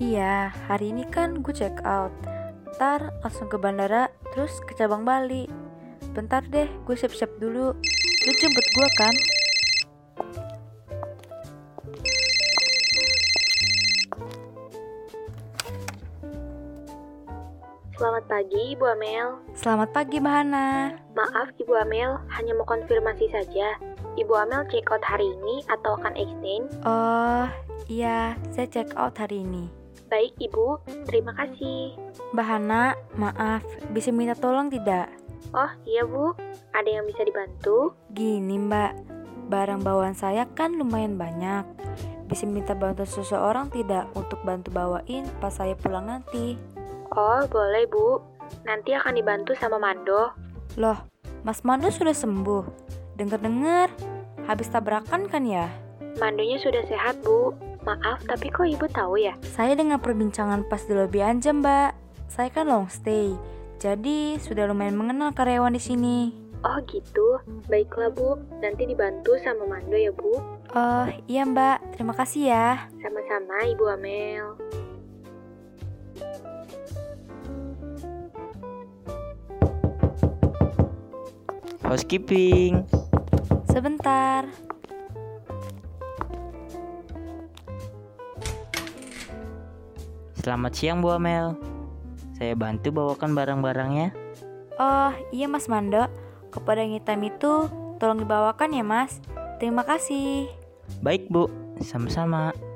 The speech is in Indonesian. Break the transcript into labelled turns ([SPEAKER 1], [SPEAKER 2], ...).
[SPEAKER 1] Iya, hari ini kan gue check out. Ntar langsung ke bandara, terus ke cabang Bali. Bentar deh, gue siap-siap dulu. Lu jemput gue kan?
[SPEAKER 2] Selamat pagi, Ibu Amel.
[SPEAKER 1] Selamat pagi, Mbak Hana.
[SPEAKER 2] Maaf, Ibu Amel, hanya mau konfirmasi saja. Ibu Amel check out hari ini atau akan extend?
[SPEAKER 1] Oh, iya, saya check out hari ini.
[SPEAKER 2] Baik, Ibu. Terima kasih.
[SPEAKER 1] Mbak Hana, maaf, bisa minta tolong tidak?
[SPEAKER 2] Oh, iya, Bu. Ada yang bisa dibantu?
[SPEAKER 1] Gini, Mbak, barang bawaan saya kan lumayan banyak. Bisa minta bantuan seseorang tidak untuk bantu bawain pas saya pulang nanti?
[SPEAKER 2] Oh, boleh, Bu. Nanti akan dibantu sama Mando.
[SPEAKER 1] Loh, Mas Mando sudah sembuh. Dengar-dengar, habis tabrakan kan ya?
[SPEAKER 2] Mandonya sudah sehat, Bu. Maaf, tapi kok Ibu tahu ya?
[SPEAKER 1] Saya dengar perbincangan pas di lobi aja, Mbak. Saya kan long stay, jadi sudah lumayan mengenal karyawan di sini.
[SPEAKER 2] Oh, gitu. Baiklah, Bu. Nanti dibantu sama Mando ya, Bu.
[SPEAKER 1] Oh, iya, Mbak. Terima kasih ya.
[SPEAKER 2] Sama-sama, Ibu Amel.
[SPEAKER 3] Housekeeping.
[SPEAKER 1] Sebentar.
[SPEAKER 3] Selamat siang Bu Amel. Saya bantu bawakan barang-barangnya.
[SPEAKER 1] Oh, iya, Mas Mando. Kepada yang hitam itu, tolong dibawakan ya, Mas. Terima kasih.
[SPEAKER 3] Baik Bu, sama-sama.